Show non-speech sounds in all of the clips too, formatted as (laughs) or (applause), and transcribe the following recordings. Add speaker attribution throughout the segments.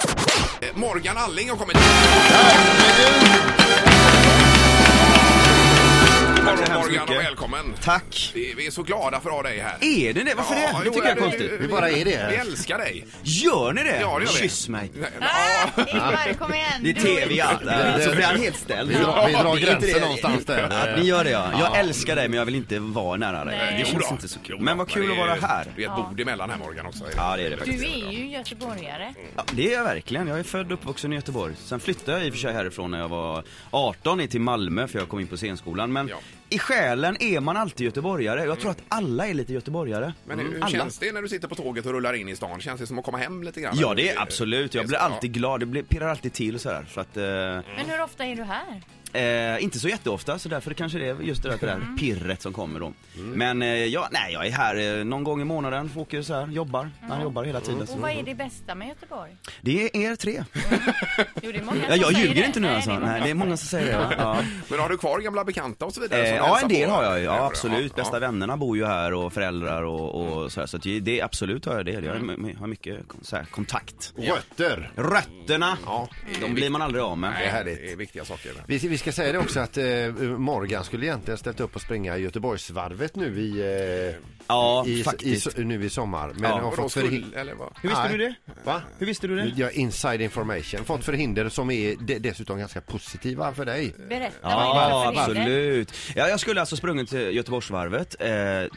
Speaker 1: Eh, Morgan Alling har kommit. Morgon,
Speaker 2: så hemskt
Speaker 1: Morgan och
Speaker 2: mycket.
Speaker 1: välkommen.
Speaker 2: Tack.
Speaker 1: Vi, vi är så glada för att ha dig här.
Speaker 2: Är det det? Varför
Speaker 1: Ja,
Speaker 2: det?
Speaker 1: jo,
Speaker 2: Det tycker jag
Speaker 1: det-
Speaker 2: är konstigt.
Speaker 3: Vi bara är
Speaker 1: Vi
Speaker 3: det.
Speaker 1: älskar dig.
Speaker 2: Gör ni det?
Speaker 1: Ja, det gör vi.
Speaker 2: Kyss mig.
Speaker 1: Nej,
Speaker 4: Ah, Ingvar, kom igen.
Speaker 2: Det är
Speaker 4: Du-
Speaker 2: tv i allt.
Speaker 3: Det- det-
Speaker 2: Så blir han helt ställd.
Speaker 3: Vi drar, vi drar
Speaker 2: Inte det.
Speaker 3: gränser någonstans där.
Speaker 2: Att ni gör det ja. Jag älskar dig men jag vill inte vara nära dig.
Speaker 4: Nej.
Speaker 2: Det
Speaker 1: Jo
Speaker 2: känns
Speaker 1: då.
Speaker 2: inte så
Speaker 1: Jo
Speaker 2: kul.
Speaker 1: då,
Speaker 2: Men vad kul att
Speaker 1: det är-
Speaker 2: vara här.
Speaker 1: Det är ett bord emellan här Morgan också.
Speaker 2: Ja det är det
Speaker 4: Du
Speaker 2: faktiskt.
Speaker 4: är ju göteborgare.
Speaker 2: Ja, det är jag verkligen. Jag är född och uppvuxen i Göteborg. Sen flyttade jag i och för sig härifrån när jag var 18 ner till Malmö för jag kom in på scenskolan. Men
Speaker 1: Ja.
Speaker 2: i själen är man alltid göteborgare. Jag tror att alla är lite göteborgare.
Speaker 1: Men hur hur
Speaker 2: Mm, Alla.
Speaker 1: känns det när du sitter på tåget och rullar in i stan? Känns det som att komma hem lite grann? Eh,
Speaker 2: Ja det
Speaker 1: Eller-
Speaker 2: är absolut, jag blir
Speaker 1: Ja.
Speaker 2: alltid glad, det blir, pirrar alltid till sådär. Så att, eh,
Speaker 4: Men hur ofta är du här?
Speaker 2: eh, inte så jätteofta så därför kanske det är just det där, det där pirret som kommer då. Men eh, ja, nej jag är här eh, någon gång i månaden, åker så här, jobbar, man jobbar hela tiden.
Speaker 4: Och
Speaker 2: Så.
Speaker 4: vad är det bästa med Göteborg?
Speaker 2: Det är er tre.
Speaker 4: Jo, det är många
Speaker 2: Ja,
Speaker 4: som
Speaker 2: jag
Speaker 4: säger
Speaker 2: ljuger
Speaker 4: det.
Speaker 2: inte nu
Speaker 4: Nej,
Speaker 2: alltså,
Speaker 4: många
Speaker 2: nej det är många som säger det. va? Ja.
Speaker 1: Men har du kvar gamla bekanta och så vidare?
Speaker 2: Eh,
Speaker 1: som
Speaker 2: ja
Speaker 1: hälsar
Speaker 2: en
Speaker 1: på
Speaker 2: del
Speaker 1: dig?
Speaker 2: har jag ju.
Speaker 1: Eller hur?
Speaker 2: ja absolut. Bästa vännerna bor ju här och föräldrar och, och sådär. Så att det, är- absolut har jag det. Jag har- har mycket så här, kontakt.
Speaker 3: Rötter.
Speaker 2: Rötterna,
Speaker 1: Ja, det är
Speaker 2: de blir man aldrig av med.
Speaker 1: Nej, Det är viktiga saker.
Speaker 3: Vi, vi ska säga det också att eh, Morgan skulle egentligen ställt upp och springa Göteborgsvarvet nu i, eh,
Speaker 2: Ja,
Speaker 3: i, i,
Speaker 2: faktiskt.
Speaker 3: nu i sommar. Men
Speaker 2: Ja.
Speaker 3: har
Speaker 1: Och då
Speaker 3: fått
Speaker 1: skulle,
Speaker 3: förhinder.
Speaker 1: eller vad?
Speaker 2: Hur visste du det?
Speaker 3: Va?
Speaker 2: Hur visste du det?
Speaker 3: Jag har inside information. Fått förhinder som är de- dessutom ganska positiva för dig.
Speaker 4: som- Berätta,
Speaker 2: Ja,
Speaker 4: vad är det för hinder?
Speaker 2: absolut. Ja, jag skulle alltså sprungit till Göteborgsvarvet. Eh,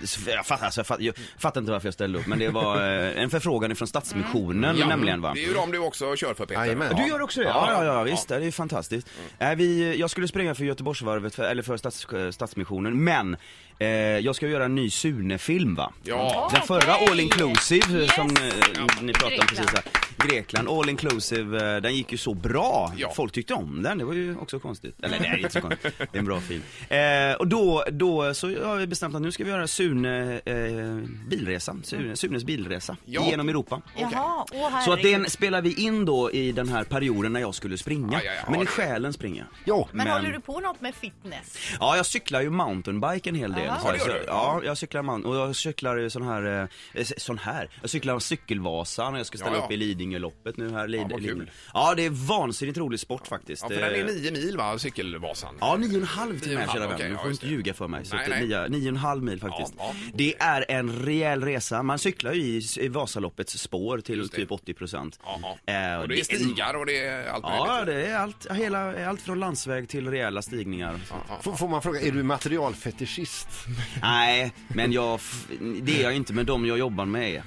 Speaker 2: så jag, fattar, alltså, jag, fattar, jag fattar inte varför jag ställde upp, men det var eh, en förfrågan från Stadsmissionen
Speaker 1: Ja,
Speaker 2: nämligen va.
Speaker 1: Det är ju de du också kör för Peter.
Speaker 3: Jajamän.
Speaker 2: Du gör också det? Ja, ja, ja visst. Det är ju fantastiskt. Eh, vi, jag skulle springa för Göteborgsvarvet, för, eller för stats, eh, Stadsmissionen, men eh, jag ska göra en ny Sune-film va?
Speaker 1: Ja.
Speaker 2: Den förra
Speaker 4: Okej.
Speaker 2: All Inclusive
Speaker 4: Yes.
Speaker 2: som eh, ni pratade om precis här. Grekland, All Inclusive, eh, den gick ju så bra.
Speaker 1: Ja.
Speaker 2: Folk tyckte om den, det var ju också konstigt. Eller nej, det är inte så konstigt.
Speaker 1: (laughs)
Speaker 2: Det är en bra film. Eh, och då, då så har vi bestämt att nu ska vi göra Sune, eh, bilresa, Sune, Sunes bilresa
Speaker 1: Ja.
Speaker 2: genom Europa.
Speaker 4: Jaha, åh herregud.
Speaker 2: Så att den spelar vi in då i den här perioden när jag skulle springa.
Speaker 1: Ja, ja, ja.
Speaker 2: men i själen springer jag.
Speaker 3: Jo,
Speaker 4: Men,
Speaker 2: Men-
Speaker 4: håller du på något med fitness?
Speaker 2: Ja, jag cyklar ju mountainbike en hel del.
Speaker 4: Jaha.
Speaker 2: Så,
Speaker 4: Ja,
Speaker 1: det gör du.
Speaker 2: ja, jag cyklar mountain, och jag cyklar ju sån här, eh, s- sån här. Jag cyklar cykelvasan och jag ska ställa
Speaker 1: Ja, ja.
Speaker 2: upp i Lidingöloppet nu här. Lid,
Speaker 1: Ja, vad kul.
Speaker 2: Lidingö. ja, det är vansinnigt rolig sport faktiskt.
Speaker 1: Ja, för den är
Speaker 2: Eh,
Speaker 1: nio mil va, cykelvasan?
Speaker 2: Ja, nio och en halv till
Speaker 1: Nio och
Speaker 2: mig
Speaker 1: en halv,
Speaker 2: kära
Speaker 1: okej,
Speaker 2: vänner. Du
Speaker 1: ja,
Speaker 2: får
Speaker 1: just
Speaker 2: inte
Speaker 1: det.
Speaker 2: ljuga för mig. Så
Speaker 1: Nej,
Speaker 2: att det är
Speaker 1: nej.
Speaker 2: nio, nio och en halv mil faktiskt.
Speaker 1: Ja, ja.
Speaker 2: Det är en rejäl resa. Man cyklar ju i, i Vasaloppets spår till typ 80 procent. Eh,
Speaker 1: Ja, ja. Och det är stigar och det är allt
Speaker 2: Ja,
Speaker 1: möjligt.
Speaker 2: det är allt, hela, allt från landsväg till rejäla stigningar.
Speaker 3: F- får man fråga, är
Speaker 2: (laughs)
Speaker 3: du materialfetischist?
Speaker 2: Nej, men jag, f- det är jag inte med de jag jobbar med. är.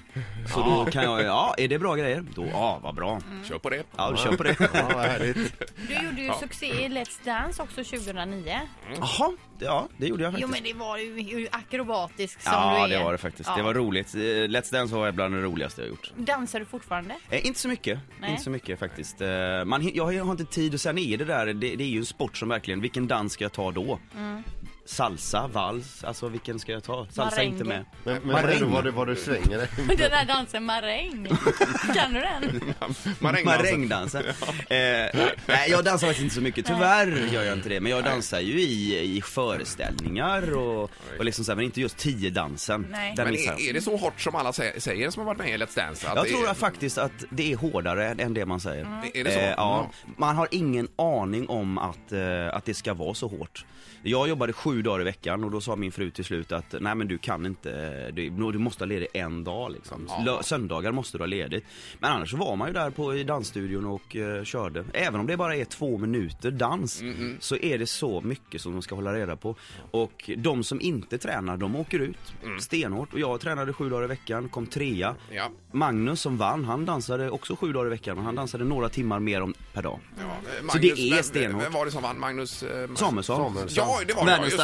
Speaker 2: Så då kan jag, ja, är det bra grejer? Då, ja, vad bra.
Speaker 1: Kör på det.
Speaker 2: Ja, du kör på det.
Speaker 3: Ja, vad härligt.
Speaker 4: Du gjorde ju succé i Let's Dance också 2009.
Speaker 2: (laughs) Jaha, ja, det gjorde jag
Speaker 4: Jo,
Speaker 2: faktiskt.
Speaker 4: men det var ju ju akrobatisk som du
Speaker 2: Ja,
Speaker 4: är.
Speaker 2: det var det faktiskt. Det
Speaker 4: Ja.
Speaker 2: var roligt. Eh, Let's Dance var bland det roligaste jag gjort.
Speaker 4: Dansar du fortfarande? (laughs)
Speaker 2: Eh, inte så mycket,
Speaker 4: Nej.
Speaker 2: inte så mycket faktiskt. Eh, man, hin- jag har- jag har inte tid och sen är det där, det, det är ju en sport som verkligen, vilken dans ska jag ta då?
Speaker 4: Mm.
Speaker 2: Salsa, vals, alltså vilken ska jag ta? Salsa är
Speaker 4: Marengo.
Speaker 2: inte med.
Speaker 3: Men, men vad är det var du, var du svänger dig?
Speaker 4: Den här dansen maräng. kan du den?
Speaker 1: Marängdansen. (laughs)
Speaker 2: Marängdansen. eh, nej jag dansar faktiskt inte så mycket, tyvärr gör jag inte det. Men jag dansar ju i, i föreställningar och, och liksom så här, men inte just tiodansen.
Speaker 4: Nej.
Speaker 2: Den
Speaker 1: Men
Speaker 2: missar jag.
Speaker 1: är, är det så hårt som alla sä- säger som har varit med i Let's Dance? Att
Speaker 2: liksom. Jag
Speaker 1: det
Speaker 2: tror
Speaker 1: är,
Speaker 2: att faktiskt att det är hårdare än det man säger.
Speaker 1: Är det så?
Speaker 2: Eh, ja.
Speaker 1: Mm.
Speaker 2: Man har ingen aning om att, eh, att det ska vara så hårt. Jag jobbade sju dagar i veckan och då sa min fru till slut att nej men du kan inte, du, du måste ha ledigt en dag liksom. Lö- Söndagar måste du ha ledigt. Men annars så var man ju där på, i dansstudion och eh, körde. Även om det bara är två minuter dans så är det så mycket som de ska hålla reda på. Och de som inte tränar de åker ut stenhårt. Och jag tränade sju dagar i veckan, kom trea.
Speaker 1: Ja.
Speaker 2: Magnus som vann, han dansade också sju dagar i veckan men han dansade några timmar mer om, per dag.
Speaker 1: Ja, Magnus,
Speaker 2: Så det är
Speaker 1: vem-
Speaker 2: stenhårt.
Speaker 1: Vem var det som vann? Magnus? eh, Magnus-
Speaker 2: Samuelsson.
Speaker 1: Ja, det var det.
Speaker 2: Världens
Speaker 1: just det.